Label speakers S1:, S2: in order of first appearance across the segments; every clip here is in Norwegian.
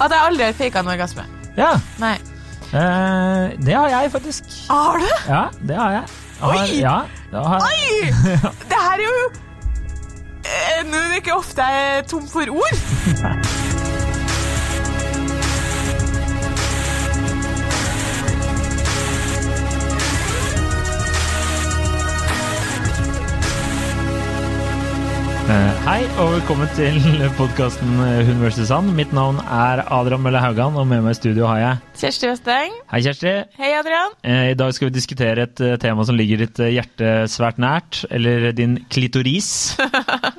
S1: At jeg aldri har faka en orgasme.
S2: Ja,
S1: Nei.
S2: eh, det har jeg faktisk.
S1: Har du?
S2: Ja, det har jeg. Jeg har-
S1: Oi!
S2: Ja, da har,
S1: Oi! Det her er jo Eh, Nå er det ikke ofte jeg er tom for ord.
S2: Eh, Hei og velkommen til podkasten Hun vs. Sand. Mitt navn er Adrian Mølle Haugan, og med meg i studio har jeg
S1: Kjersti Østeng.
S2: Hei, Kjersti.
S1: Hei, Adrian.
S2: Eh, I dag skal vi diskutere et eh, tema som ligger ditt eh, hjerte svært nært, eller din klitoris. Eh,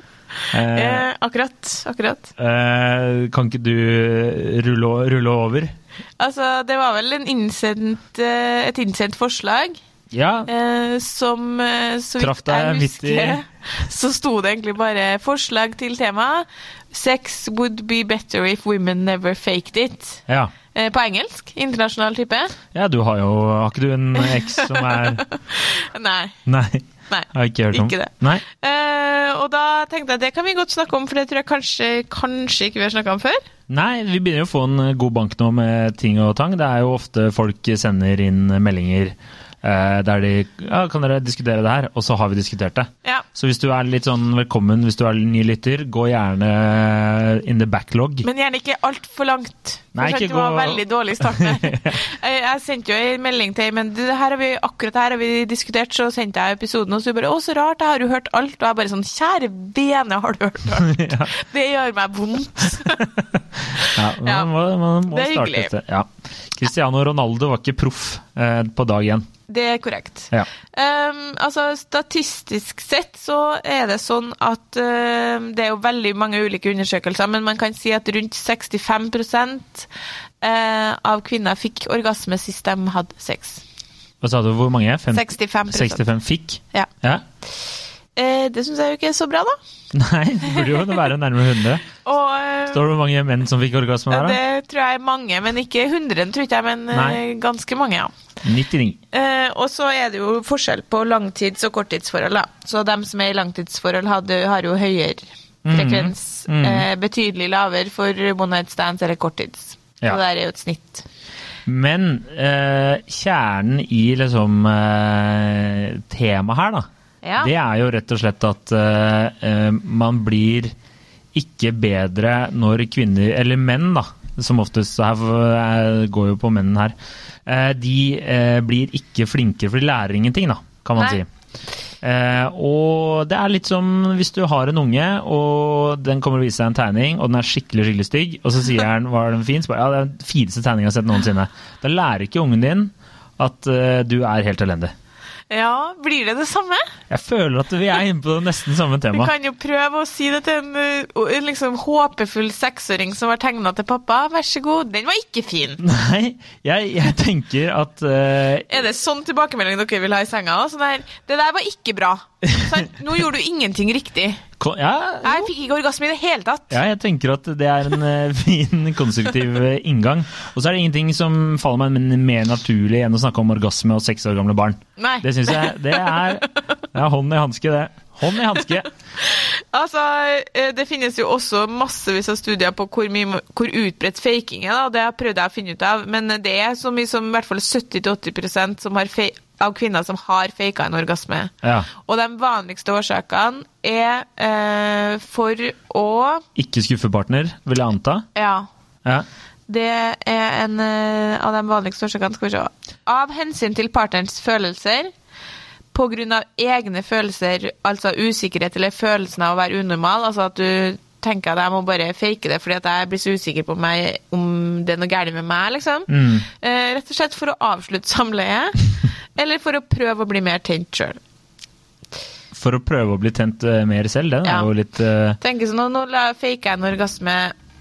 S1: Eh, akkurat. Akkurat.
S2: eh, kan ikke du eh, rulle, o- rulle over?
S1: Altså, det var vel en innsendt, eh, et innsendt forslag
S2: Ja.
S1: eh, som eh, Så
S2: Traff
S1: vidt jeg
S2: deg midt i-
S1: husker, så sto det egentlig bare forslag til tema. Sex would be better if women never faked it.
S2: ja.
S1: Eh, på engelsk. Internasjonal type.
S2: Ja, du har jo Har ikke du en eks som er
S1: Nei.
S2: Nei,
S1: Nei.
S2: har jeg ikke hørt om.
S1: Ikke det.
S2: Nei.
S1: Eh, og da tenkte jeg det kan vi godt snakke om, for det tror jeg kanskje, kanskje ikke vi har snakka om før.
S2: Nei, vi begynner jo å få en eh, god bank nå med ting og tang. Det er jo ofte folk sender inn meldinger eh, der de ja, 'Kan dere diskutere det her?' Og så har vi diskutert det.
S1: Ja.
S2: Så hvis du er litt sånn velkommen hvis du er ny lytter, gå gjerne in the backlog.
S1: Men gjerne ikke altfor langt. For
S2: Nei,
S1: jeg
S2: ikke
S1: skjønte det var
S2: gå-
S1: veldig dårlig start der. Eh, jeg sendte jo en melding til ei, men du, det her har vi, akkurat det her har vi diskutert, så sendte jeg episoden, og så bare 'Å, så rart, jeg har jo hørt alt', og jeg bare sånn 'Kjære vene, har du hørt alt?'
S2: ja,
S1: Det gjør meg vondt.
S2: ja,
S1: Ja.
S2: man må, man må
S1: Det er
S2: starte
S1: hyggelig.
S2: etter. Ja. Cristiano Ronaldo var ikke proff eh, på dag én.
S1: Det er korrekt.
S2: Ja.
S1: Ehm, altså, statistisk sett så er det sånn at ehm, det er jo veldig mange ulike undersøkelser, men man kan si at rundt 65 eh, av kvinner fikk orgasme sist de hadde sex.
S2: Hva sa du, hvor mange? Fem-
S1: 65
S2: 65 fikk?
S1: Ja.
S2: ja.
S1: Eh, det syns jeg jo ikke er så bra, da.
S2: Nei, det burde jo være nærmere 100.
S1: Og eh,
S2: Står det hvor mange menn som fikk orgasme der, da?
S1: det tror jeg er mange, men ikke 100, tror ikke jeg, men eh,
S2: Nei.
S1: ganske mange, ja.
S2: 99.
S1: Eh, og så er det jo forskjell på langtids- og korttidsforhold, da. Så dem som er i langtidsforhold, hadde, har jo høyere
S2: Mhm.
S1: frekvens. Eh, betydelig lavere for one night stands eller korttids.
S2: Ja.
S1: Så det er jo et snitt.
S2: Men eh, kjernen i liksom eh, temaet her, da,
S1: Ja.
S2: det er jo rett og slett at eh, eh, man blir ikke bedre når kvinner, eller menn da, som oftest, så her eh, går jo på mennene her, eh, de eh, blir ikke flinkere, for de lærer ingenting da, kan man
S1: Nei.
S2: si. Eh, og det er litt som hvis du har en unge, og den kommer og viser deg en tegning, og den er skikkelig skikkelig stygg, og så sier han 'var den fin?' Så bare, ja, det er den fineste tegningen jeg har sett noensinne. Da lærer ikke ungen din at eh, du er helt elendig.
S1: Ja, blir det det samme?
S2: Jeg føler at vi er inne på nesten samme
S1: Vi
S2: tema.
S1: kan jo prøve å si det til en, eh, o- en liksom håpefull seksåring som har tegna til pappa. Vær så god, den var ikke fin.
S2: Nei, jeg, jeg tenker at eh,
S1: Er det sånn tilbakemelding dere vil ha i senga? da? Sånn der, det der var ikke bra. Sånn, nå gjorde du ingenting riktig.
S2: ko- ja,
S1: Jeg fikk ikke orgasme i det hele tatt.
S2: ja, jeg tenker at det er en eh, fin, konstruktiv eh, inngang. Og så er det ingenting som faller meg mer naturlig enn å snakke om orgasme og seks år gamle barn.
S1: Nei.
S2: Det syns jeg det er, det er hånd i hanske, det. Hånd i hanske.
S1: Altså, eh, Det finnes jo også massevis av studier på hvor, mye, hvor utbredt faking er. da, Det har prøvd jeg å finne ut av. Men det er så mye som i hvert fall 70-80 som har fe- av kvinner som har faka en orgasme.
S2: Ja.
S1: Og de vanligste årsakene er eh, for å
S2: Ikke skuffe partner, vil jeg anta.
S1: Ja.
S2: Ja.
S1: Det er en eh, av de vanligste årsakene. Skal vi se. Av hensyn til partnerens følelser, på grunn av egne følelser, altså usikkerhet eller følelsen av å være unormal, altså at du tenker at jeg må bare fake det fordi at jeg blir så usikker på meg, om det er noe galt med meg, liksom.
S2: Mm.
S1: Eh, rett og slett for å avslutte samleiet, eller for å prøve å bli mer tent sjøl.
S2: For å prøve å bli tent eh, mer selv, det
S1: Ja.
S2: er jo litt eh,
S1: Tenker sånn, nå, nå la- faker jeg en orgasme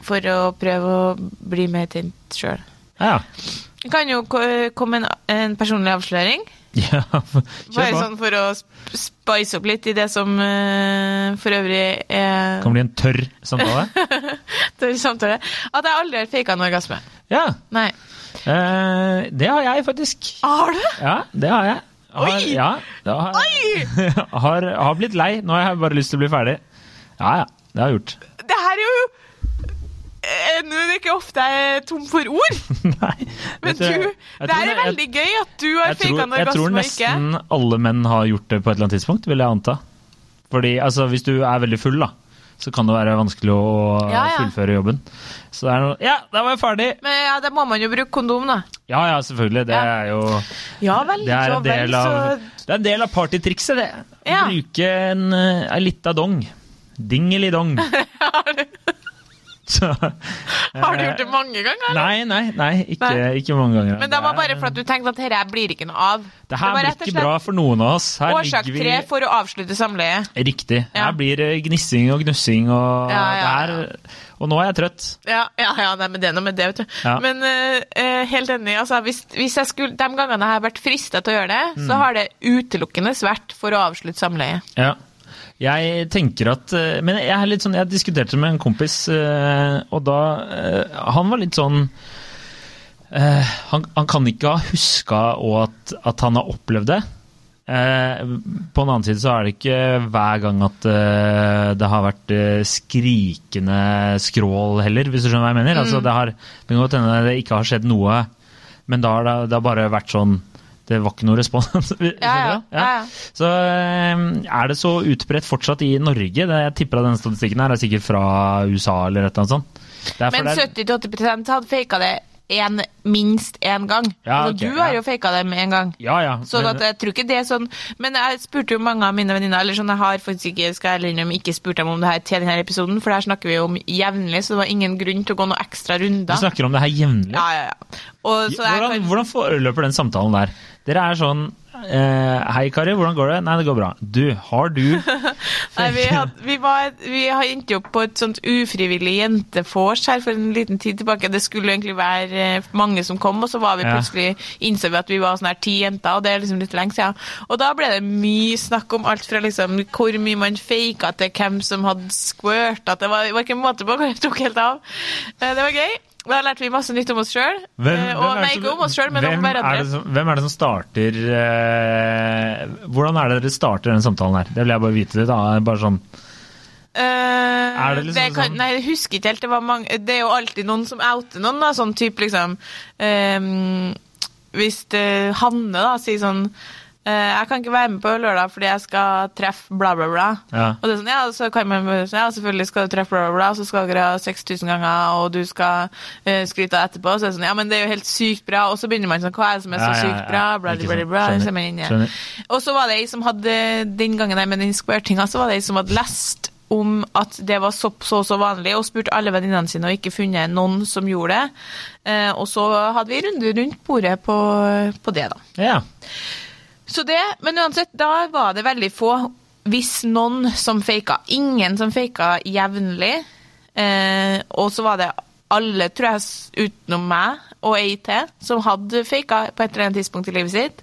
S1: for å prøve å bli mer tent sjøl.
S2: Ja.
S1: Det kan jo ko- komme en, en personlig avsløring.
S2: ja.
S1: Bare
S2: Kjør på.
S1: sånn for å sp- spice opp litt i det som eh, for øvrig er
S2: Kan bli en tørr samtale.
S1: til samtale. At jeg aldri har faka en orgasme.
S2: Ja.
S1: Nei.
S2: Eh, det har jeg faktisk.
S1: Har du?
S2: Ja, det har jeg. Har,
S1: Oi!
S2: Ja, det har, har, har blitt lei. Nå har jeg bare lyst til å bli ferdig. Ja, ja. Det har jeg gjort.
S1: Det her er jo eh, Nå er det ikke ofte jeg er tom for ord,
S2: Nei.
S1: men
S2: Vet du, jeg
S1: du
S2: tror
S1: Det her er
S2: ne-
S1: veldig gøy at du har
S2: jeg tror,
S1: faka
S2: jeg
S1: orgasme
S2: tror
S1: og ikke.
S2: nesten alle menn har gjort det på et eller annet tidspunkt, vil jeg anta. Fordi altså, hvis du er veldig full, da, så kan det være vanskelig å
S1: Ja, ja.
S2: fullføre jobben. Så det er noe Ja, da var jeg ferdig!
S1: Men ja, da må man jo bruke kondom, da.
S2: Ja ja, selvfølgelig. Det
S1: Ja.
S2: er jo
S1: Ja vel,
S2: det er
S1: ja
S2: en
S1: vel,
S2: del av,
S1: så
S2: det er en del av partytrikset, det.
S1: Ja.
S2: Bruke en, eh, ei lita dong. Dingelidong.
S1: har du,
S2: Så,
S1: har du
S2: eh,
S1: gjort det mange ganger? eller?
S2: Nei, nei, nei, ikke,
S1: Nei.
S2: ikke mange ganger.
S1: Men det var
S2: er-
S1: bare for at du tenkte at dette blir ikke noe av.
S2: Det her
S1: var
S2: blir
S1: rett og
S2: ikke
S1: slett
S2: bra for noen av oss. Her
S1: Årsak
S2: ligger vi
S1: tre for å avslutte samleiet.
S2: Riktig.
S1: Ja.
S2: Her blir det gnissing og gnussing og
S1: Ja, ja,
S2: det er- Og nå er jeg trøtt.
S1: Ja, ja, ja nei, men det er noe med det, vet du.
S2: Ja.
S1: Men eh, eh, helt enig. Altså, hvis, hvis jeg skulle, de gangene jeg har vært frista til å gjøre det, så har det utelukkende vært for å avslutte samleiet.
S2: Mm. Ja. Jeg tenker at eh, Men jeg er litt sånn, jeg diskuterte det med en kompis, eh, og da eh, Han var litt sånn eh, han, han kan ikke ha huska og at, at han har opplevd det. Eh, På den annen side så er det ikke hver gang at eh, det har vært eh, skrikende skrål heller, hvis du skjønner hva jeg mener.
S1: Mm.
S2: Altså, det, har, det kan godt hende det ikke har skjedd noe, men da har det, det har bare vært sånn Det var ikke noe respons. Skjønner du?
S1: Ja, ja, ja, ja.
S2: Så eh, er det så utbredt fortsatt i Norge? Det, jeg tipper at denne statistikken her er sikkert fra USA eller et eller annet sånt. Det er for
S1: Men
S2: det er-
S1: 70-80 hadde faka det en, minst én gang.
S2: Ja,
S1: altså,
S2: ok,
S1: du har
S2: ja.
S1: jo faka det med en gang.
S2: ja, ja.
S1: Så
S2: men-
S1: at jeg tror ikke det er sånn Men jeg spurte jo mange av mine venninner, eller sånn jeg har faktisk ikke skal jeg ærlig innrømme, ikke spurt dem om det her til denne episoden, for det her snakker vi jo om jevnlig, så det var ingen grunn til å gå noen ekstra
S2: Du
S1: runder.
S2: snakker om det her jevnlig.
S1: Ja, ja, ja. Og, så jeg
S2: hvordan,
S1: kan,
S2: hvordan foreløper den samtalen der? Dere er sånn eh, Hei, Kari, hvordan går det? Nei, det går bra. Du, har du
S1: nei, vi, had, vi, var, vi har endt opp på et sånt ufrivillig jentefors her for en liten tid tilbake. Det skulle egentlig være eh, mange som kom, og så var vi
S2: Ja.
S1: plutselig, innså vi at vi var sånn her ti jenter, og det er liksom litt lenge siden. Og da ble det mye snakk om alt fra liksom hvor mye man faka til hvem som hadde squirta. Det var, det var ikke en måte på hva jeg tok helt av. Eh, Det var gøy. Da lærte vi masse nytt om oss sjøl. Nei, ikke om oss sjøl, men om
S2: hvem Er
S1: hverandre.
S2: det som, hvem er det som starter eh, Hvordan er det dere starter den samtalen her? Det vil jeg bare vite. Da. Bare sånn,
S1: er
S2: det liksom
S1: Eh, kan,
S2: sånn-
S1: Nei, jeg husker ikke helt. Det, var mange, det er jo alltid noen som outer noen, da. Sånn type liksom ehm, Hvis eh, Hanne da sier sånn eh, Jeg kan ikke være med på lørdag fordi jeg skal treffe bla, bla, bla.
S2: Ja.
S1: Og det er sånn, ja, så kan man bare sånn, ja, selvfølgelig skal du treffe bla, bla, bla, så skal dere ha 6000 ganger, og du skal eh, skryte av etterpå. Så er det sånn, ja, men det er jo helt sykt bra. Og så begynner man sånn, hva er det som er så
S2: Ja, ja,
S1: sykt
S2: ja.
S1: bra? Bla,
S2: Ikke
S1: bla, bla, bla. Så
S2: sant. Skjønner.
S1: er man inne.
S2: Skjønner.
S1: Og så var det ei som hadde den gangen jeg med den square-tinga, så var det ei som hadde lest om at det var så så, så vanlig, og spurt alle venninnene sine og ikke funnet noen som gjorde det. Eh, og så hadde vi runde rundt bordet på, på det, da.
S2: ja.
S1: Så det, Men uansett, da var det veldig få, hvis noen, som faka. Ingen som faka jevnlig. Eh, og så var det alle, tror jeg, s- utenom meg og ei til, som hadde faka på et eller annet tidspunkt i livet sitt.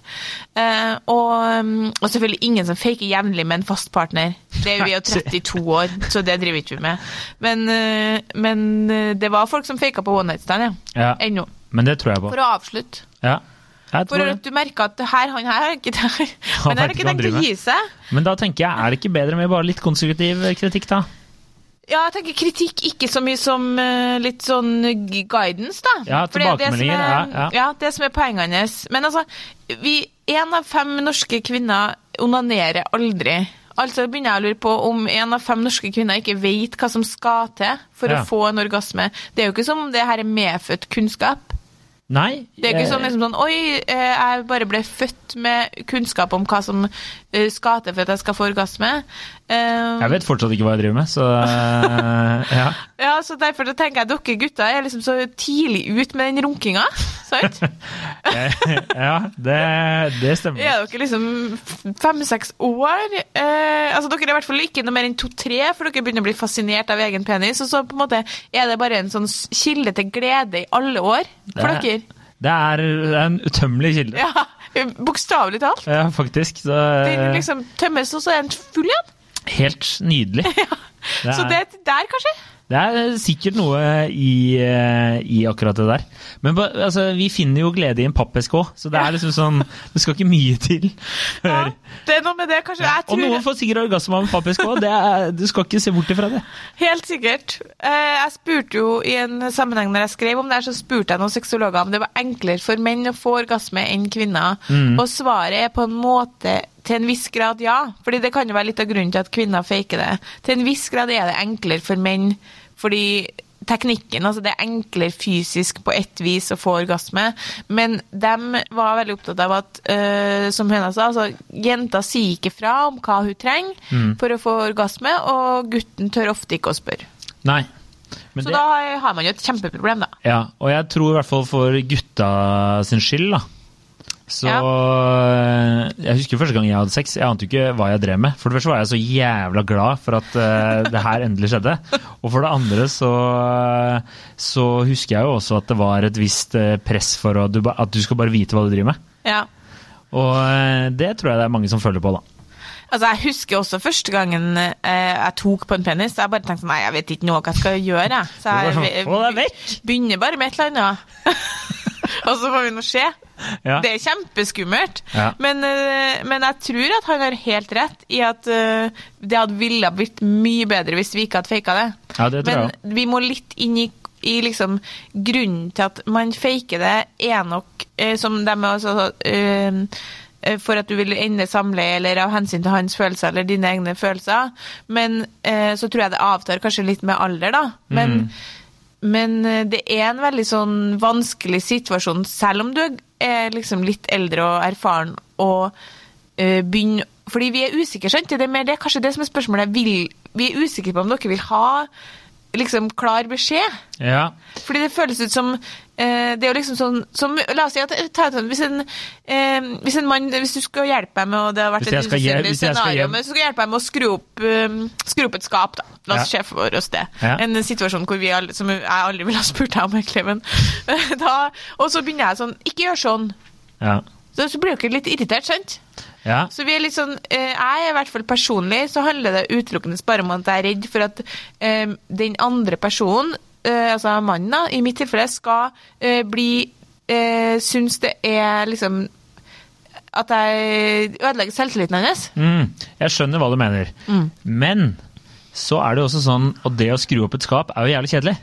S1: Eh, og, mm, og selvfølgelig ingen som faker jevnlig med en fast partner. Det, vi er jo 32 år, så det driver ikke vi med. Men, eh, men eh, det var folk som faka på one night stand, ja.
S2: ja.
S1: Ennå.
S2: Men det tror jeg på.
S1: For å avslutte.
S2: Ja. Jeg
S1: For
S2: tror
S1: at
S2: det.
S1: du merker at det her, han her har ikke, han her
S2: vet
S1: har
S2: ikke
S1: ikke
S2: hva han
S1: tenkt å
S2: driver
S1: gi seg.
S2: Men da tenker jeg, er det ikke bedre med bare litt konstruktiv kritikk, da?
S1: Ja, jeg tenker kritikk ikke så mye som eh, litt sånn gu- guidance, da.
S2: Ja,
S1: For det er det som
S2: tilbakemeldinger,
S1: er-
S2: ja, ja.
S1: Ja, det som er poenget hans. Men altså, vi, en av fem norske kvinner onanerer aldri. Altså begynner jeg å lure på om en av fem norske kvinner ikke vet hva som skal til for
S2: Ja.
S1: å få en orgasme. Det er jo ikke som om det her er medfødt kunnskap.
S2: Nei.
S1: Det er ikke
S2: jeg-
S1: sånn, liksom, sånn Oi, eh, jeg bare ble født med kunnskap om hva som eh, skal til for at jeg skal få orgasme. Eh,
S2: Jeg vet fortsatt ikke hva jeg driver med, så eh, ja.
S1: ja, så Derfor så tenker jeg dere gutter er liksom så tidlig ut med den runkinga. sant?
S2: Eh, ja det, det stemmer.
S1: Er dere liksom fem-seks år? Eh, altså Dere er i hvert fall ikke noe mer enn to-tre, for dere begynner å bli fascinert av egen penis. Og så på en måte er det bare en sånn s- kilde til glede i alle år for
S2: Det er-
S1: dere.
S2: Det er, det er en utømmelig kilde,
S1: Ja, Bokstavelig talt. liksom,
S2: ja, faktisk. Så, eh,
S1: Den liksom tømmes, og så er den full igjen.
S2: Helt nydelig. Det
S1: Så
S2: er-
S1: det er der, kanskje?
S2: Det er sikkert noe i, eh, i akkurat det der. Men ba- altså, vi finner jo glede i en pappeske òg, så det er liksom sånn Det skal ikke mye til
S1: Ja,
S2: før
S1: det er noe med det, kanskje. Jeg
S2: Og
S1: tror
S2: noen får sikkert orgasme av en pappeske òg, du skal ikke se bort ifra det.
S1: Helt sikkert. Eh, Jeg spurte jo i en sammenheng når jeg skrev om det her, så spurte jeg noen sexologer om det var enklere for menn å få orgasme enn kvinner.
S2: Mm.
S1: Og svaret er på en måte til en viss grad ja, fordi det kan jo være litt av grunnen til at kvinner faker det. Til en viss grad er det enklere for menn fordi teknikken, altså det er enklere fysisk på ett vis å få orgasme, men de var veldig opptatt av at, eh, som Høna sa, altså jenta sier ikke fra om hva hun trenger
S2: Mm.
S1: for å få orgasme, og gutten tør ofte ikke å spørre.
S2: Nei. Men
S1: Så
S2: det,
S1: da har man jo et kjempeproblem, da.
S2: ja, og jeg tror i hvert fall for gutta sin skyld, da. Så eh, Jeg husker første gang jeg hadde sex. Jeg ante jo ikke hva jeg drev med. For det første var jeg så jævla glad for at eh, det her endelig skjedde. Og for det andre så, eh, så husker jeg jo også at det var et visst eh, press for å, du, ba- at du skal bare vite hva du driver med.
S1: Ja.
S2: Og eh, det tror jeg det er mange som føler på, da.
S1: Altså, Jeg husker også første gangen eh, jeg tok på en penis. Jeg bare tenkte sånn, nei, jeg vet ikke noe hva jeg skal gjøre. jeg. Så
S2: Det var
S1: jeg
S2: sånn, «Få deg vekk!»
S1: begynner bare med et eller annet. og så får vi nå se.
S2: Ja.
S1: Det er kjempeskummelt.
S2: Ja.
S1: Men, eh, men jeg tror at han har helt rett i at eh, det hadde ville ha blitt mye bedre hvis vi ikke hadde faka det.
S2: Ja, det tror jeg
S1: men vi må litt inn i, i liksom grunnen til at man faker det, er nok eh, som de er altså eh, eh, for at du vil ende samleie, eller av hensyn til hans følelser eller dine egne følelser. Men eh, så tror jeg det avtar kanskje litt med alder, da. Men
S2: Mm.
S1: men eh, det er en veldig sånn vanskelig situasjon, selv om du er liksom litt eldre og erfaren og eh, begynner Fordi vi er usikre, skjønt? Det er mer det, kanskje det som er spørsmålet. Vil, vi er usikre på om dere vil ha liksom klar beskjed.
S2: Ja.
S1: Fordi det føles ut som eh, Det er jo liksom sånn som, La oss si at ta et sånt, hvis, en, eh, hvis en mann Hvis du skal hjelpe meg med og det har vært
S2: Hvis jeg
S1: et
S2: skal hjem-
S1: usannsynlig
S2: hvis jeg skal
S1: scenario,
S2: hjem-
S1: men så skal jeg hjelpe meg med å skru opp, um, skru opp et skap, da. La oss
S2: Ja.
S1: se for oss det.
S2: Ja.
S1: En situasjon hvor vi alle, som jeg aldri ville ha spurt deg om, egentlig. Men, da, og så begynner jeg sånn Ikke gjør sånn.
S2: Ja.
S1: Så, så blir dere litt irritert, skjønt?
S2: ja.
S1: Så vi er litt sånn, eh, jeg er i hvert fall personlig, så handler det utelukkende bare om at jeg er redd for at eh, den andre personen, eh, altså mannen da, i mitt tilfelle, skal eh, bli, eh, synes det er liksom, at jeg ødelegger selvtilliten hennes.
S2: Mm, jeg skjønner hva du mener.
S1: Mm.
S2: Men så er det jo også sånn Og det å skru opp et skap er jo jævlig kjedelig.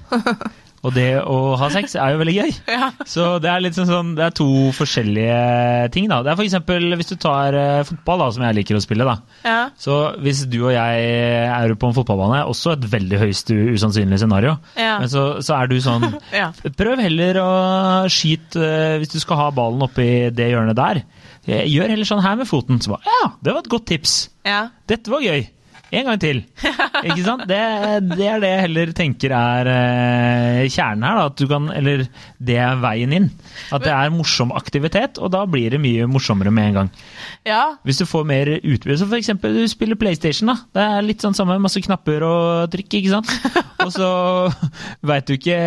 S2: Og det å ha sex er jo veldig gøy.
S1: Ja.
S2: Så det er litt sånn, sånn Det er to forskjellige ting, da. Det er for eksempel hvis du tar eh, fotball, da, som jeg liker å spille, da.
S1: Ja.
S2: Så hvis du og jeg er på en fotballbane, også et veldig høyst u- usannsynlig scenario,
S1: Ja.
S2: men så, så er du sånn
S1: Ja.
S2: Prøv heller å skyte eh, hvis du skal ha ballen oppi det hjørnet der. Eh, Gjør heller sånn her med foten. Så bare, ja, det var et godt tips.
S1: Ja.
S2: Dette var gøy. En gang til. Ikke sant? Det, det er det jeg heller tenker er eh, kjernen her. Da. At du kan, eller det er veien inn. At det er morsom aktivitet, og da blir det mye morsommere med en gang.
S1: Ja.
S2: Hvis du får mer utbytte, så for eksempel du spiller PlayStation, da. Det er litt sånn samme, masse knapper og trykk, ikke sant. Og så veit du ikke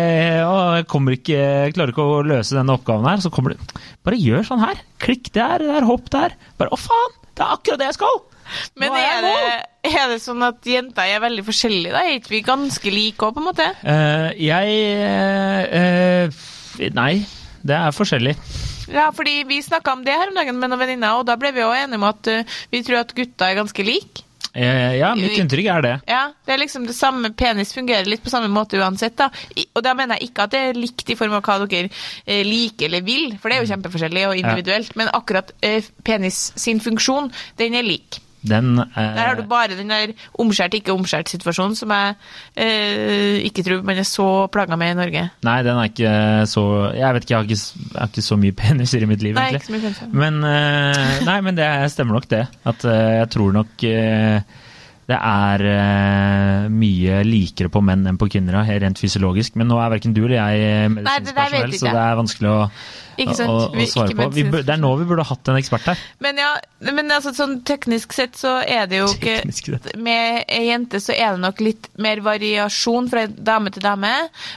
S2: Å, jeg kommer ikke jeg Klarer ikke å løse denne oppgaven her. Så kommer du Bare gjør sånn her. Klikk der, der, hopp der. Bare Å, faen! Det er akkurat det jeg skal!
S1: Men
S2: Nå
S1: er
S2: jeg
S1: det,
S2: mål!
S1: er det sånn at jenter er veldig forskjellige da? Er ikke vi ganske like også på en måte?
S2: Eh, jeg eh, eh, Nei. Det er forskjellig.
S1: Ja, fordi vi snakket om det her om dagen med noen venninner, og da ble vi også enige om at eh, vi tror at gutta er ganske like.
S2: Eh, ja, mitt inntrykk er det.
S1: Ja, det er liksom det samme. Penis fungerer litt på samme måte uansett, da. I, og da mener jeg ikke at det er likt i form av hva dere eh, liker eller vil, for
S2: Mm.
S1: det er jo kjempeforskjellig og individuelt, men akkurat eh, penis sin funksjon, den er lik.
S2: Den eh,
S1: Der har du bare den der omskjært-ikke-omskjært-situasjonen som jeg eh, ikke tror man er så plaga med i Norge.
S2: Nei, den er ikke så Jeg vet ikke, jeg har ikke, s- jeg har ikke så mye peniser i mitt liv,
S1: Nei,
S2: egentlig.
S1: ikke så mye peniser.
S2: Men, eh, nei, men det stemmer nok det. At eh, jeg tror nok eh, det er eh, mye likere på menn enn på kvinner, ja, rent fysiologisk. Men nå er verken du eller jeg
S1: Nei, det der vet
S2: medisinpersonell,
S1: ikke
S2: så det er vanskelig å,
S1: Ikke sant?
S2: å,
S1: Vi
S2: å
S1: er
S2: svare
S1: ikke
S2: på. Vi, bur- det er nå vi burde hatt en ekspert her.
S1: Men ja, men altså, sånn teknisk sett så er det jo ikke
S2: Teknisk sett.
S1: Med ei jente så er det nok litt mer variasjon fra dame til dame.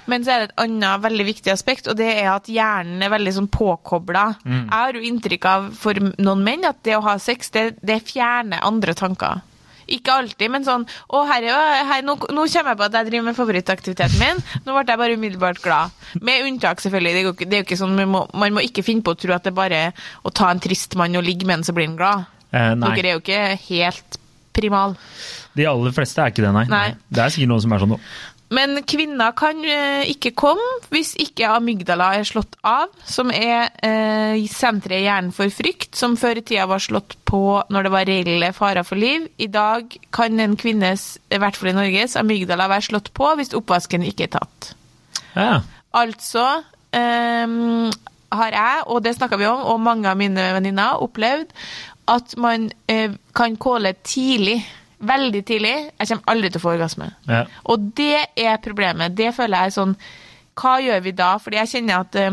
S1: Men så er det et annet veldig viktig aspekt, og det er at hjernen er veldig sånn påkobla.
S2: Mm.
S1: Jeg har jo inntrykk av for noen menn at det å ha sex, det, det fjerner andre tanker. Ikke alltid, men sånn Å, herre, å, her, nå, nå kommer jeg på at jeg driver med favorittaktiviteten min. Nå ble jeg bare umiddelbart glad. Med unntak, selvfølgelig. Det er jo ikke, det er jo ikke sånn, man må, man må ikke finne på å tro at det er bare å ta en trist mann og ligge med han, så blir han glad.
S2: Eh, nei,
S1: Dere er jo ikke helt primal.
S2: de aller fleste er ikke det, nei.
S1: Nei.
S2: Det er sikkert noen som er sånn nå.
S1: Men kvinner kan eh, ikke komme hvis ikke amygdala er slått av, som er eh, senteret i hjernen for frykt, som før i tida var slått på når det var reelle farer for liv. I dag kan en kvinnes, i hvert fall i Norges, amygdala være slått på hvis oppvasken ikke er tatt.
S2: Ja, ja.
S1: Altså ehm, har jeg, og det snakka vi om, og mange av mine venninner opplevd, at man eh, kan kåle tidlig. Veldig tidlig. Jeg kommer aldri til å få orgasme.
S2: Ja.
S1: Og det er problemet. Det føler jeg er sånn Hva gjør vi da? Fordi jeg kjenner at eh,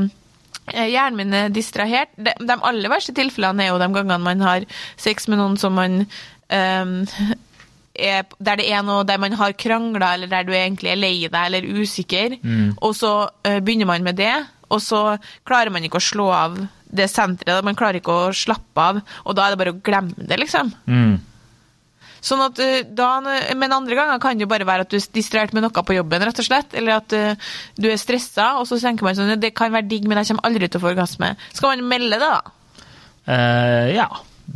S1: hjernen min er distrahert. De, de aller verste tilfellene er jo de gangene man har sex med noen som man eh, er, der det er noe der man har krangla, eller der du egentlig er lei deg eller usikker, og så eh, begynner man med det, og så klarer man ikke å slå av det senteret, man klarer ikke å slappe av, og da er det bare å glemme det, liksom.
S2: Mm.
S1: Sånn at eh, da, Men andre ganger kan det jo bare være at du er distrahert med noe på jobben, rett og slett. Eller at eh, du er stressa, og så tenker man sånn Det kan være digg, men jeg kommer aldri til å få orgasme. Skal man melde det, da?
S2: Eh, ja,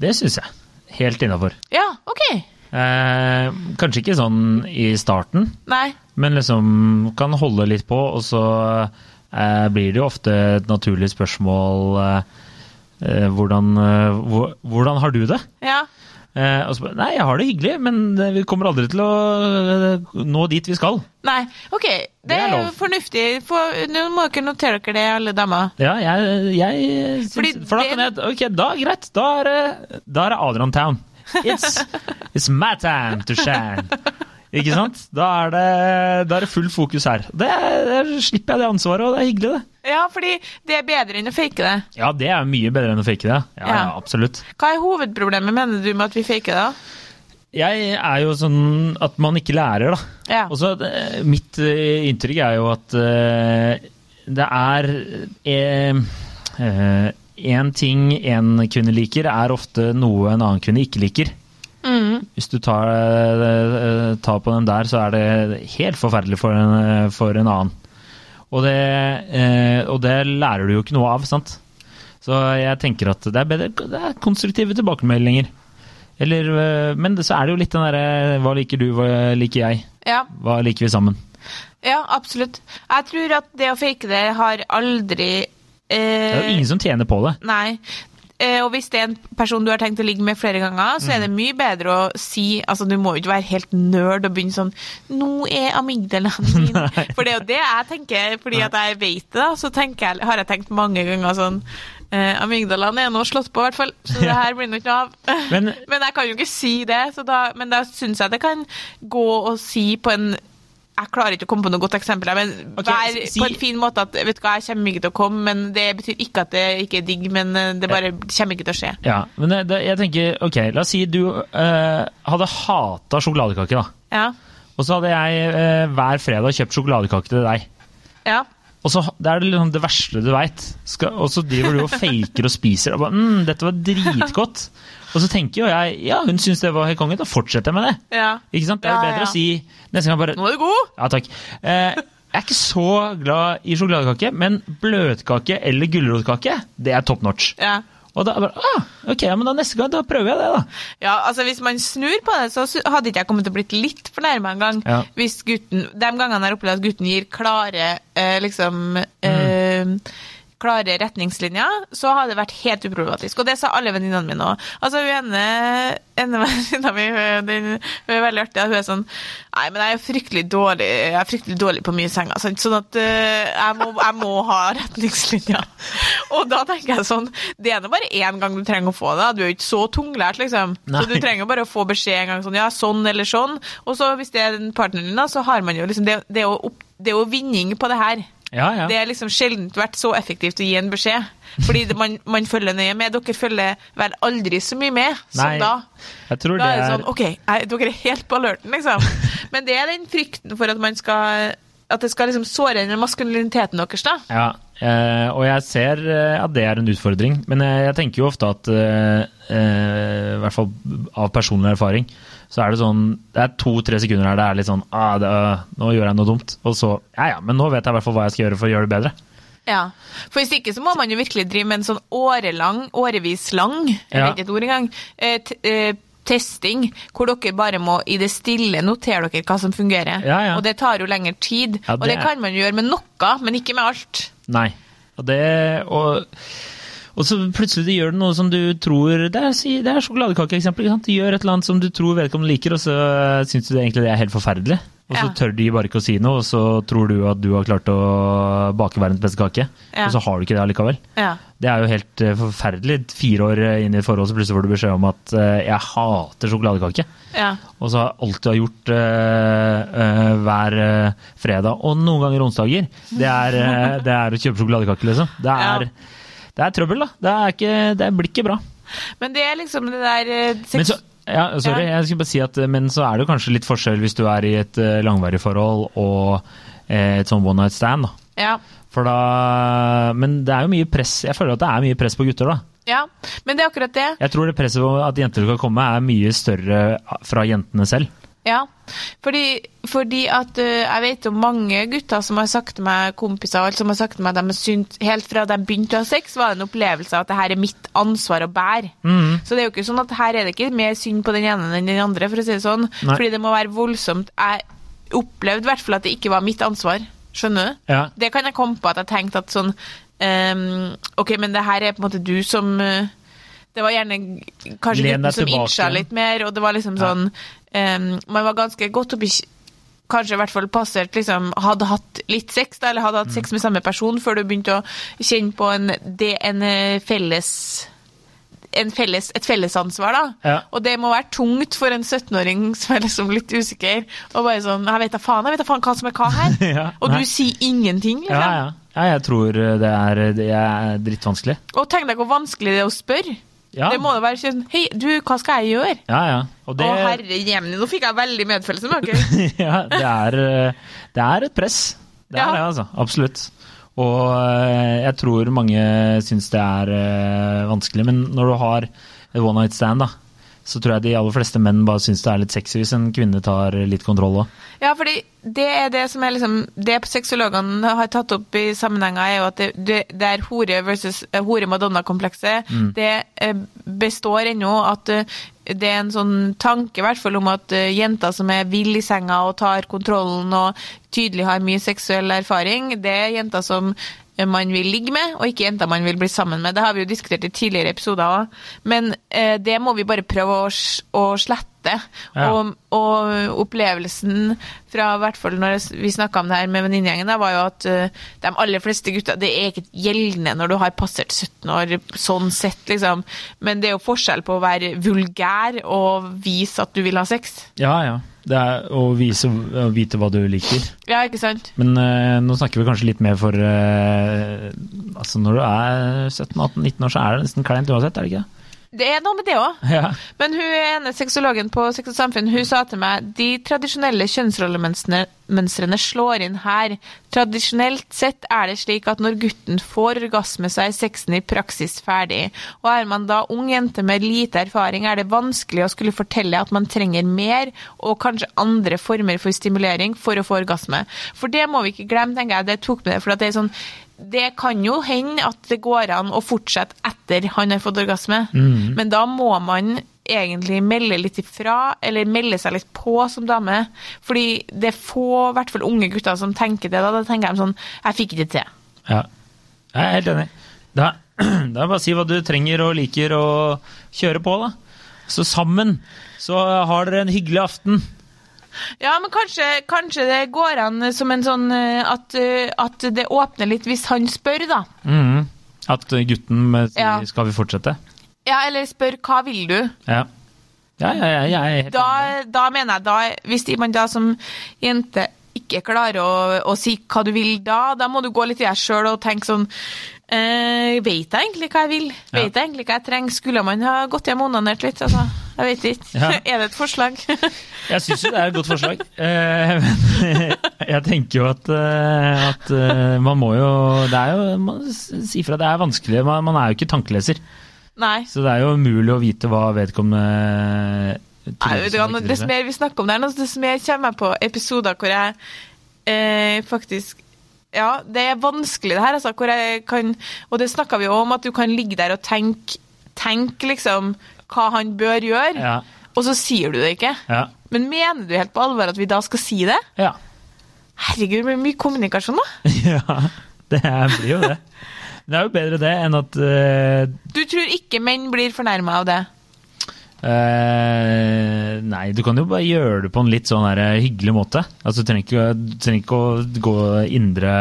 S2: det syns jeg. Helt innafor.
S1: Ja, OK.
S2: Eh, kanskje ikke sånn i starten,
S1: Nei.
S2: men liksom kan holde litt på, og så eh, blir det jo ofte et naturlig spørsmål eh, eh, hvordan, eh, hvor- hvordan har du det?
S1: Ja.
S2: Eh, og så, bare, nei, jeg har det hyggelig, men eh, vi kommer aldri til å eh, nå dit vi skal.
S1: Nei. OK.
S2: Det
S1: Det
S2: er
S1: er jo
S2: lov.
S1: fornuftig. For, nå må dere notere dere det, alle damer.
S2: Ja, jeg, jeg syns
S1: Fordi
S2: For da
S1: det-
S2: kan jeg Ok, da greit. Da er det, da er det Adrian Town. It's, it's my time to shine. Ikke sant? Da er det, da er det full fokus her. Det, der slipper jeg det ansvaret, og det er hyggelig, det.
S1: Ja, fordi det er bedre enn å fake det.
S2: Ja, det er mye bedre enn å fake det. Ja, ja.
S1: Ja.
S2: absolutt.
S1: Hva er hovedproblemet, mener du, med at vi faker det? da?
S2: Jeg er jo sånn at man ikke lærer, da.
S1: Ja.
S2: Og så eh, mitt eh, inntrykk er jo at eh, det er Én ting en kvinne liker, er ofte noe en annen kvinne ikke liker.
S1: Mm.
S2: Hvis du tar, eh, tar på den der, så er det helt forferdelig for en, for en annen. Og det, eh, og det lærer du jo ikke noe av, sant? Så jeg tenker at det er, bedre, det er konstruktive tilbakemeldinger. Eller, eh, men det, så er det jo litt den derre Hva liker du, hva liker jeg?
S1: ja.
S2: Hva liker vi sammen?
S1: Ja, absolutt. Jeg tror at det å fake det har aldri
S2: Det er jo
S1: eh,
S2: ingen som tjener på det.
S1: Nei. Eh, og hvis det er en person du har tenkt å ligge med flere ganger, så er det mye bedre å si Altså, du må jo ikke være helt nerd og begynne sånn 'Nå er amygdalaen min For det er jo det jeg tenker, fordi at jeg vet det, da, så tenker jeg, har jeg tenkt mange ganger sånn eh, Amygdalaen er nå slått på, i hvert fall, så det her blir nå ikke noe av.
S2: Men-
S1: men jeg kan jo ikke si det, så da, men da syns jeg det kan gå og si på en jeg klarer ikke å komme på noe godt eksempel, her, men
S2: Ok,
S1: vær
S2: si-
S1: på en fin måte at vet du hva, jeg kommer ikke til å komme, men det betyr ikke at det ikke er digg, men eh, det bare kommer ikke til å skje.
S2: Ja, men det, det, jeg tenker, ok, La oss si du eh, hadde hata sjokoladekake, da.
S1: Ja.
S2: Og så hadde jeg eh, hver fredag kjøpt sjokoladekake til deg.
S1: ja.
S2: Og så Det er liksom det verste du veit. Og så driver du og faker og spiser. Og bare, mm, 'Dette var dritgodt'. Og så tenker jo jeg ja, hun syns det var helt konge, da fortsetter jeg med det.
S1: ja.
S2: Ikke sant? Det er jo
S1: Ja,
S2: bedre
S1: ja.
S2: å si neste gang bare
S1: Nå er du god!
S2: Ja, takk. Eh, jeg er ikke så glad i sjokoladekake, men bløtkake eller gulrotkake, det er top notch.
S1: Ja.
S2: Og da bare, ah, ok, ja, men da neste gang da prøver jeg det, da.
S1: ja, altså hvis man snur på det, så su- hadde ikke jeg kommet til å blitt litt fornærma engang.
S2: Ja.
S1: Hvis gutten De gangene jeg har opplevd at gutten gir klare eh, liksom eh, klare retningslinjer, så har det vært helt uproblematisk. Og det sa alle venninnene mine òg. Altså, hun ene, ene venninna mi hun den- hun er veldig artig. Hun er sånn Nei, men jeg er fryktelig dårlig Jeg er fryktelig dårlig på mye senger, sant? sånn at eh, jeg, må, jeg må ha retningslinjer. Og da tenker jeg sånn Det er nå bare én gang du trenger å få det. Du er jo ikke så tunglært, liksom.
S2: Nei.
S1: Så du trenger jo bare å få beskjed en gang sånn Ja, sånn eller sånn. Og så hvis det er den partneren din, da, så har man jo liksom Det, det, er, jo opp, det er jo vinning på det her.
S2: Ja, ja.
S1: Det er liksom sjelden vært så effektivt å gi en beskjed. Fordi det, man, man følger nøye med. Dere følger vel aldri så mye med som
S2: Nei,
S1: da.
S2: Jeg tror
S1: Da
S2: det
S1: er det
S2: er
S1: sånn OK, jeg, dere er helt på alerten, liksom. Men det er den frykten for at man skal at det skal liksom såre inn i maskuliniteten deres, da.
S2: Ja, eh, og jeg ser eh, at det er en utfordring, men jeg, jeg tenker jo ofte at eh, eh, I hvert fall av personlig erfaring, så er det sånn Det er to-tre sekunder her det er litt sånn ah, det, øh, Nå gjør jeg noe dumt. Og så Ja ja, men nå vet jeg i hvert fall hva jeg skal gjøre for å gjøre det bedre.
S1: Ja. For hvis ikke så må man jo virkelig drive med en sånn årelang, årevis lang, jeg
S2: Ja.
S1: vet ikke et ord engang, eh, t eh, testing, hvor dere bare må i det stille notere dere hva som fungerer.
S2: Ja, ja.
S1: Og det tar jo lengre tid.
S2: Ja,
S1: Og det
S2: det er-
S1: kan man jo gjøre med noe, men ikke med alt.
S2: Nei. Og det og, og så plutselig gjør du noe som du tror Det er, si- det er sjokoladekakeeksempel. ikke sant? Du gjør et eller annet som du tror vedkommende liker, og så syns du det egentlig det er helt forferdelig. Og så
S1: Ja.
S2: tør de bare ikke å si noe, og så tror du at du har klart å bake verdens beste kake.
S1: Ja.
S2: Og så har du ikke det allikevel.
S1: Ja.
S2: Det er jo helt eh, forferdelig. Fire år eh, inn i et forhold så plutselig får du beskjed om at eh, 'jeg hater sjokoladekake'.
S1: ja.
S2: Og så har jeg alltid har gjort eh, eh, hver eh, fredag, og noen ganger onsdager, det er, eh, det er å kjøpe sjokoladekake, liksom. Det er, det er trøbbel, da. Det, er ikke, det blir ikke bra.
S1: Men det er liksom det der eh, seks-
S2: Men så, ja, sorry, jeg skulle bare si at eh, men så er det jo kanskje litt forskjell hvis du er i et eh, langvarig forhold og eh, et sånn one night stand, da.
S1: ja.
S2: For da, men det er jo mye press. Jeg føler at det er mye press på gutter, da.
S1: ja. Men det er akkurat det.
S2: Jeg tror det presset på at jenter skal komme, er mye større eh, fra jentene selv.
S1: Ja, fordi, fordi at ø, jeg vet om mange gutter som har sagt til meg, kompiser og alt, som har sagt til meg at de har synt, helt fra de begynte å ha sex, var det en opplevelse av at det her er mitt ansvar å bære.
S2: Mm.
S1: Så det er jo ikke sånn at her er det ikke mer synd på den ene enn den andre, for å si det sånn.
S2: Nei.
S1: Fordi det må være voldsomt. Jeg opplevde i hvert fall at det ikke var mitt ansvar. Skjønner du?
S2: Ja.
S1: Det kan jeg komme på at jeg tenkte at sånn ehm, Ok, men det her er på en måte du som eh, Det var gjerne g- kanskje
S2: Len
S1: gutten
S2: deg
S1: som
S2: tilbake.
S1: innsja litt mer, og det var liksom
S2: Ja.
S1: sånn ehm, Man var ganske godt oppi kj- Kanskje i hvert fall passert liksom, Hadde hatt litt sex, da, eller hadde hatt
S2: Mm.
S1: sex med samme person før du begynte å kjenne på en, det, en eh, felles en felles, et fellesansvar, da.
S2: Ja.
S1: Og det må være tungt for en 17-åring som er liksom litt usikker, og bare sånn Jeg vet da faen, jeg vet da faen hva som er hva her.
S2: Ja,
S1: og
S2: nei.
S1: du sier ingenting, liksom.
S2: Ja, ja. ja jeg tror det er, det er drittvanskelig.
S1: Og tenk deg hvor vanskelig det er å spørre.
S2: Ja.
S1: Det må jo være sånn Hei, du, hva skal jeg gjøre?
S2: Ja, ja. Og det,
S1: Å, herre jemni, nå fikk jeg veldig medfølelse med dere.
S2: ja, det, er, eh, det er et press. Det er
S1: Ja.
S2: det, altså. Absolutt. Og eh, jeg tror mange syns det er eh, vanskelig, men når du har et one night stand, da, så tror jeg de aller fleste menn bare syns det er litt sexy hvis en kvinne tar litt kontroll òg.
S1: Ja, fordi det er det som er liksom Det sexologene har tatt opp i sammenhenger, er jo at det, det, det er hore versus eh, hore-madonna-komplekset. Det eh, består ennå at eh, det er en sånn tanke i hvert fall om at eh, jenter som er vill i senga og tar kontrollen og tydelig har mye seksuell erfaring, det er jenter som eh, man vil ligge med, og ikke jenter man vil bli sammen med. Det har vi jo diskutert i tidligere episoder òg. Men eh, det må vi bare prøve å, s- å slette.
S2: Ja.
S1: Og og opplevelsen fra i hvert fall når vi snakka om det her med venninnegjengen, da, var jo at eh, de aller fleste gutta Det er ikke gjeldende når du har passert 17 år, sånn sett, liksom. Men det er jo forskjell på å være vulgær og vise at du vil ha sex.
S2: Ja, ja. Det er å, vise, å vite hva du liker.
S1: Ja, ikke sant?
S2: Men eh, nå snakker vi kanskje litt mer for eh, Altså når du er 17-18-19 år, så er det nesten kleint uansett, er det ikke det?
S1: Det er noe med det òg.
S2: Ja.
S1: Men hun ene sexologen på Sex og Samfunn hun sa til meg de tradisjonelle kjønnsrollemønstrene mønstrene slår inn her. Tradisjonelt sett er det slik at når gutten får orgasme, så er sexen i praksis ferdig. Og er man da ung jente med lite erfaring, er det vanskelig å skulle fortelle at man trenger mer og kanskje andre former for stimulering for å få orgasme. For det må vi ikke glemme, tenker jeg. Det tok med det, for at det er sånn det kan jo hende at det går an å fortsette etter han har fått orgasme, men da må man egentlig melde litt ifra, eller melde seg litt på som dame. Fordi det er få, i hvert fall unge gutter, som tenker det. Da, da tenker de sånn Jeg fikk det til.
S2: Ja, jeg er helt enig. Da, da er det bare å si hva du trenger og liker å kjøre på, da. Så sammen så har dere en hyggelig aften.
S1: Ja, men kanskje, kanskje det går an som en sånn eh, at, eh, at det åpner litt hvis han spør, da.
S2: Mm-hmm. At gutten eh, sier
S1: Ja.
S2: 'skal vi fortsette'?
S1: Ja, eller spør 'hva vil du'?
S2: Ja. Ja, ja, ja, jeg er helt enig.
S1: da, da mener jeg da, hvis man da som jente ikke klarer å, å si hva du vil da, da må du gå litt i deg sjøl og tenke sånn eh, Vet jeg egentlig hva jeg vil? Vet jeg egentlig hva jeg trenger? Skulle man ha gått hjem og onanert litt? Altså, Jeg vet ikke.
S2: Ja.
S1: Er det et forslag?
S2: Jeg syns jo det er et godt forslag. Eh, men jeg tenker jo at, eh, at eh, man må jo Det er jo man Si fra, det er vanskelig. Man, man er jo ikke tankeleser.
S1: Nei.
S2: Så det er jo umulig å vite hva vedkommende eh,
S1: Nei,
S2: tror
S1: vet du
S2: som
S1: hva,
S2: ikke
S1: Dess
S2: tror.
S1: mer vi snakker om det, her nå, dess mer kommer jeg på episoder hvor jeg eh, faktisk Ja, det er vanskelig, det her. Altså, hvor jeg kan, og det snakka vi jo om, at du kan ligge der og tenke tenk, liksom hva han bør gjøre,
S2: Ja,
S1: og så sier du det ikke.
S2: ja,
S1: Men mener du helt på alvor at vi da skal si det?
S2: ja.
S1: Herregud, det blir mye kommunikasjon, da.
S2: ja. Det er, blir jo det. Det er jo bedre det enn at eh,
S1: Du tror ikke menn blir fornærma av det?
S2: eh, Nei, du kan jo bare gjøre det på en litt sånn her, eh, hyggelig måte. Altså, du trenger ikke, du trenger ikke å gå indre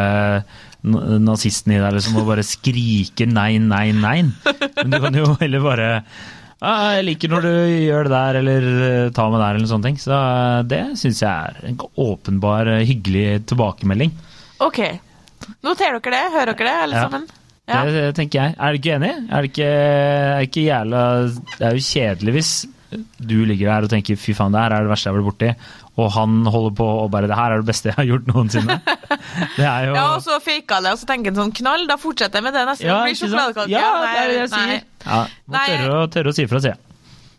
S2: na- nazisten i deg liksom, og bare skrike nei, nei, nei. Men du kan jo heller bare ah, 'Jeg liker når du gjør det der', eller eh, 'ta med der', eller sånne ting. Så eh, det syns jeg er en åpenbar, eh, hyggelig tilbakemelding.
S1: OK. Noterer dere det? Hører dere det, alle
S2: Ja.
S1: sammen?
S2: Det, det tenker jeg. Er du ikke enig? Er det ikke, er det ikke jævla Det er jo kjedelig hvis du ligger der og tenker 'fy faen, det her er det verste jeg har vært borti', og han holder på og bare 'det her er det beste jeg har gjort noensinne'. Det er jo
S1: Ja, og så faka det, og så tenker han sånn knall, da fortsetter jeg med det neste.
S2: Ja,
S1: det blir
S2: ikke sant?
S1: sjokoladekake.
S2: Ja,
S1: nei,
S2: det er det jeg
S1: nei.
S2: sier. Ja, må
S1: Nei.
S2: tørre, å- tørre å si fra, sier jeg.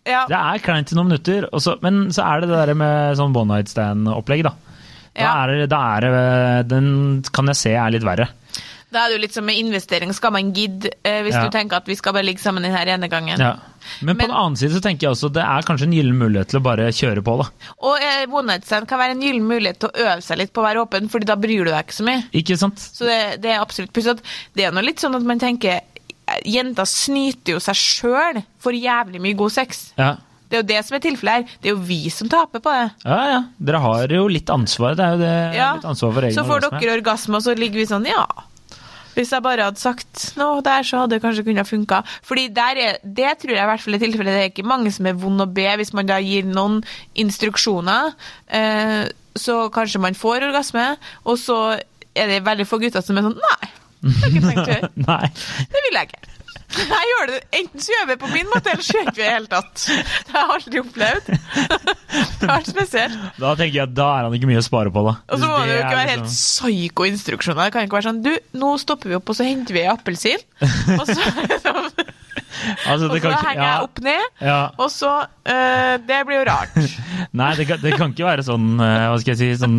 S1: Ja,
S2: Det er kleint i noen minutter, og så- men så er det det der med sånn one night stand-opplegg, da. Da
S1: Ja.
S2: er, det- da er det Den kan jeg se er litt verre.
S1: Da er det jo litt som med investering. Skal man gidde eh, hvis
S2: Ja.
S1: du tenker at vi skal bare ligge sammen denne ene gangen?
S2: Ja. Men, på
S1: Men-
S2: den annen side så tenker jeg også det er kanskje en gyllen mulighet til å bare kjøre på, da.
S1: Og eh, one night stand kan være en gyllen mulighet til å øve seg litt på å være åpen, fordi da bryr du deg ikke så mye.
S2: Ikke sant?
S1: Så det, det er absolutt pluss at det er nå litt sånn at man tenker eh, Jenter snyter jo seg sjøl for jævlig mye god sex.
S2: Ja.
S1: Det er jo det som er tilfellet her. Det er jo vi som taper på det.
S2: Ja, ja. Dere har jo litt ansvar. Det er jo det,
S1: Ja.
S2: litt ansvar eh, for egen
S1: Så får
S2: orgasme.
S1: dere orgasme, og så ligger vi sånn, ja. Hvis jeg bare hadde sagt noe der, så hadde det kanskje kunnet funka. Fordi der er, det tror jeg i hvert fall er tilfellet. Det er ikke mange som er vond å be hvis man da gir noen instruksjoner. Eh, så kanskje man får orgasme, og så er det veldig få gutter som er sånn Nei, det har jeg ikke tenkt å gjøre.
S2: Nei.
S1: Det vil jeg ikke. Jeg gjør det. Enten så gjør vi det på min måte, eller så gjør vi ikke det i det hele tatt. Det har jeg aldri opplevd. Det har vært spesielt.
S2: Da tenker jeg at da er han ikke mye å spare på, da.
S1: Og så må
S2: Hvis
S1: det jo ikke
S2: er
S1: være
S2: liksom-
S1: helt psyko-instruksjoner. Det kan ikke være sånn Du, nå stopper vi opp, og så henter vi ei appelsin. Og så,
S2: altså,
S1: og så
S2: det kan ikke,
S1: henger jeg
S2: ja,
S1: opp ned.
S2: ja.
S1: Og så eh, Det blir jo rart.
S2: Nei, det kan, det kan ikke være sånn eh, Hva skal jeg si sånn,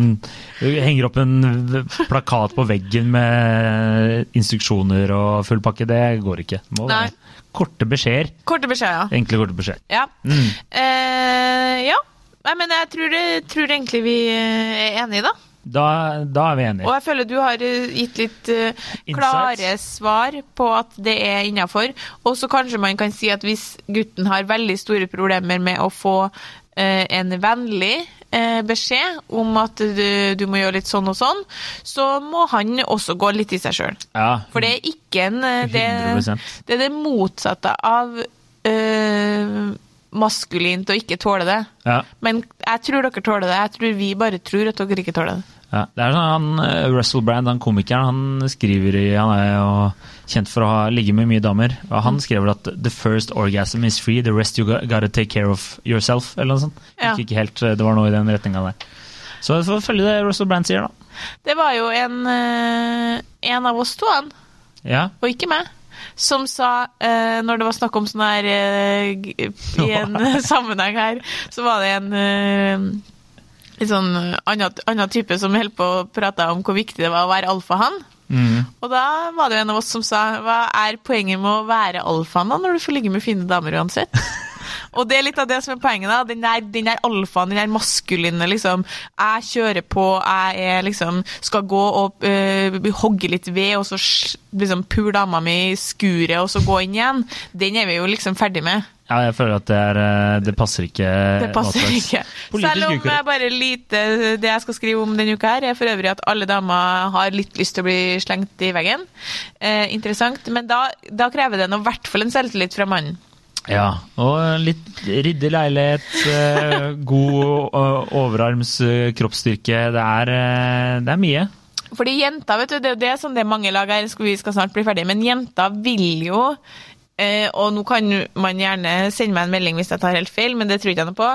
S2: Du henger opp en plakat på veggen med instruksjoner og full pakke. Det går ikke. Det må
S1: Nei.
S2: være korte beskjeder.
S1: Korte beskjeder,
S2: Enkle, korte beskjeder.
S1: ja. Ja.
S2: Mm.
S1: Eh, ja. Nei, men jeg tror, det, tror egentlig vi eh, er enige, da.
S2: Da, da er vi
S1: Og
S2: enige.
S1: jeg føler du har eh, gitt litt eh, klare svar på at det er innafor. Og så kanskje man kan si at hvis gutten har veldig store problemer med å få eh, en vennlig eh, beskjed om at du, du må gjøre litt sånn og sånn, så må han også gå litt i seg sjøl.
S2: Ja.
S1: For det er ikke en eh, det,
S2: 100%.
S1: det er det motsatte av eh, maskulint å ikke tåle det.
S2: ja.
S1: Men jeg tror dere tåler det. Jeg tror vi bare tror at dere ikke tåler det.
S2: Ja, det er sånn han, eh, Russell Brand, han komikeren, han skriver i Han er jo kjent for å ha, ligge med mye damer. Og han skriver at 'the first orgasm is free, the rest you go- gotta take care of yourself'. Eller noe sånt.
S1: Ja.
S2: Ikke, ikke helt, eh, det var noe i den retninga der. Så vi får følge det Russell Brand sier, da.
S1: Det var jo en, eh, en av oss to, han,
S2: Ja.
S1: og ikke meg, som sa, eh, når det var snakk om sånn her eh, g- I en sammenheng her, så var det en eh, litt sånn annen, annen type som holdt på å prate om hvor viktig det var å være alfahann.
S2: Mm.
S1: Og da var det jo en av oss som sa Hva er poenget med å være alfaen da, når du får ligge med fine damer uansett? Og det er litt av det som er poenget. da, Den der, den der alfaen, den der maskuline liksom Jeg kjører på, jeg er liksom Skal gå og øh, hogge litt ved, og så sj- liksom pule dama mi i skuret, og så gå inn igjen. Den er vi jo liksom ferdig med.
S2: ja, jeg føler at det, er, eh, det passer ikke.
S1: Det passer
S2: nå til dags.
S1: ikke.
S2: Eh, Politisk
S1: Selv om eh,
S2: ukorrekt.
S1: jeg bare lite Det jeg skal skrive om denne uka, her er for øvrig at alle damer har litt lyst til å bli slengt i veggen. Eh, interessant. Men da, da krever det nå i hvert fall en selvtillit fra mannen.
S2: Ja, og litt ryddig leilighet, eh, god eh, overarms eh, kroppsstyrke. Det er, eh, det er mye.
S1: sånn Fordi jenter, vet du, det er jo det som det er mange lag her, skal- vi skal snart bli ferdig, men jenter vil jo eh, Eh, og nå kan man gjerne sende meg en melding hvis jeg tar helt feil, men det tror ikke jeg noe på.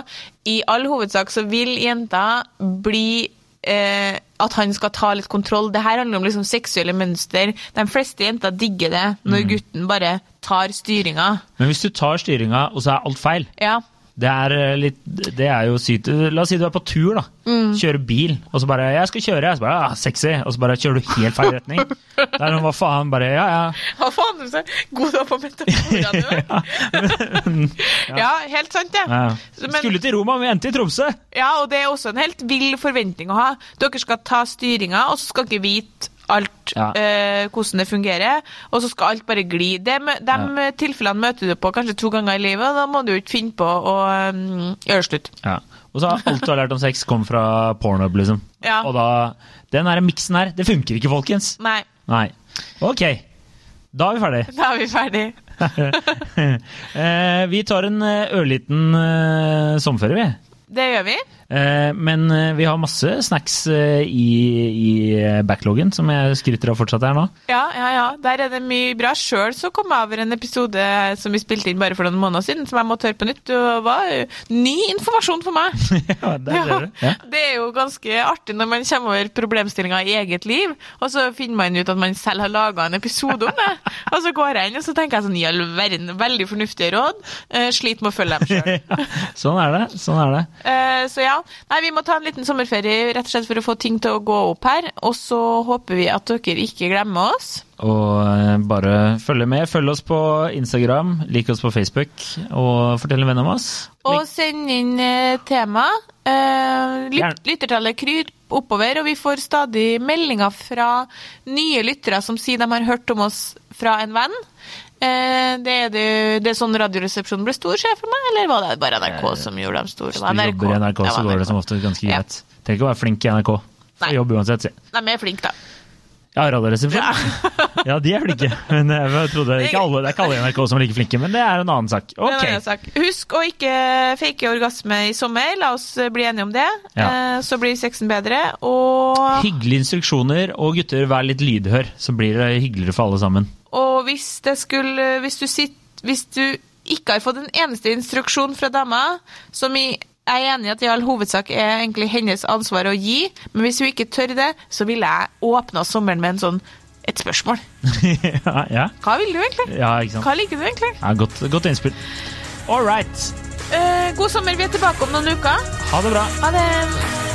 S1: I all hovedsak så vil jenta bli eh, at han skal ta litt kontroll. Det her handler om liksom seksuelle mønster. De fleste jenter digger det når gutten bare tar styringa.
S2: Men hvis du tar styringa, og så er alt feil
S1: Ja.
S2: Det er eh, litt Det er jo sykt La oss si du er på tur, da.
S1: Mm.
S2: Kjører bil, og så bare 'Jeg skal kjøre', jeg. Så bare, ah, 'Sexy', og så bare kjører du helt feil retning. Det er noe, hva faen, bare Ja, ja.
S1: Hva faen du sier? God dag på metaforene dine. ja, helt sant, det.
S2: ja.
S1: Så, men-
S2: Skulle til Roma, men endte i Tromsø!
S1: Ja, og det er også en helt vill forventning å ha. Dere skal ta styringa, og så skal dere vite alt
S2: Ja.
S1: eh, hvordan det fungerer, og så skal alt bare gli. De, de tilfellene møter du på kanskje to ganger i livet, og da må du jo ikke finne på å um, gjøre slutt.
S2: Ja. Og så har alt du har lært om sex, kom fra pornhub, liksom.
S1: Ja. Mm.
S2: Og da Den her miksen her, det funker ikke, folkens.
S1: Nei,
S2: Nei. Ok. Da er vi ferdig.
S1: da er vi ferdig.
S2: Eh, vi tar en eh, ørliten eh, sommerferie, vi.
S1: Det gjør vi.
S2: Eh, Men eh, vi har masse snacks eh, i, i eh, backloggen, som jeg skryter av fortsatt her nå.
S1: Ja, ja, ja. Der er det mye bra. Sjøl så kom jeg over en episode som vi spilte inn bare for noen måneder siden, som jeg måtte høre på nytt. Det var eh, ny informasjon for meg.
S2: ja, der ser du.
S1: Ja.
S2: Ja.
S1: Det er jo ganske artig når man kommer over problemstillinger i eget liv, og så finner man ut at man selv har laga en episode om det. Og så går jeg inn og så tenker jeg sånn, i all verden, veldig fornuftige råd. Eh, sliter med å følge dem sjøl.
S2: Sånn er det. sånn er det.
S1: Eh, så ja. Nei, vi må ta en liten sommerferie rett og slett for å få ting til å gå opp her. Og så håper vi at dere ikke glemmer oss.
S2: Og eh, bare følge med. Følg oss på Instagram, lik oss på Facebook, og fortell en venn om oss.
S1: Og send inn eh, tema. Eh, lyt,
S2: Gjerne.
S1: lyttertallet kryper oppover, og vi får stadig meldinger fra nye lyttere som sier de har hørt om oss fra en venn. Eh, det, er det, jo- det er sånn Radioresepsjonen ble stor, ser jeg for meg, eller var det bare NRK som gjorde dem store? Det
S2: Eh, Hvis
S1: var
S2: du jobber i NRK,
S1: Det
S2: så
S1: var
S2: går det som
S1: NRK.
S2: ofte ganske
S1: Ja.
S2: greit. Trenger ikke å være flink i NRK.
S1: Nei.
S2: Få jobb uansett, si.
S1: De er flinke, da.
S2: Ja, Radioresepsjonen. Ja. de er flinke. Men eh, jeg trodde ikke alle, Det er ikke alle i NRK som er like flinke, men det er en annen sak.
S1: Det er en
S2: Ok.
S1: annen sak. Husk å ikke fake orgasme i sommer. La oss eh, bli enige om det.
S2: Ja.
S1: Eh, så blir sexen bedre. Og
S2: Hyggelige instruksjoner, og gutter, vær litt lydhør, så blir det hyggeligere for alle sammen.
S1: Og hvis, det skulle, hvis, du sitt, hvis du ikke har fått en eneste instruksjon fra dama, som i, jeg er enig i at i all hovedsak er egentlig hennes ansvar å gi, men hvis hun ikke tør det, så ville jeg åpna sommeren med en sånn, et spørsmål.
S2: ja, ja,
S1: Hva vil du egentlig?
S2: ja, ikke sant.
S1: Hva liker du egentlig?
S2: Ja, godt, godt innspill. All right.
S1: Eh, god sommer, vi er tilbake om noen uker.
S2: Ha det bra.
S1: Ha det.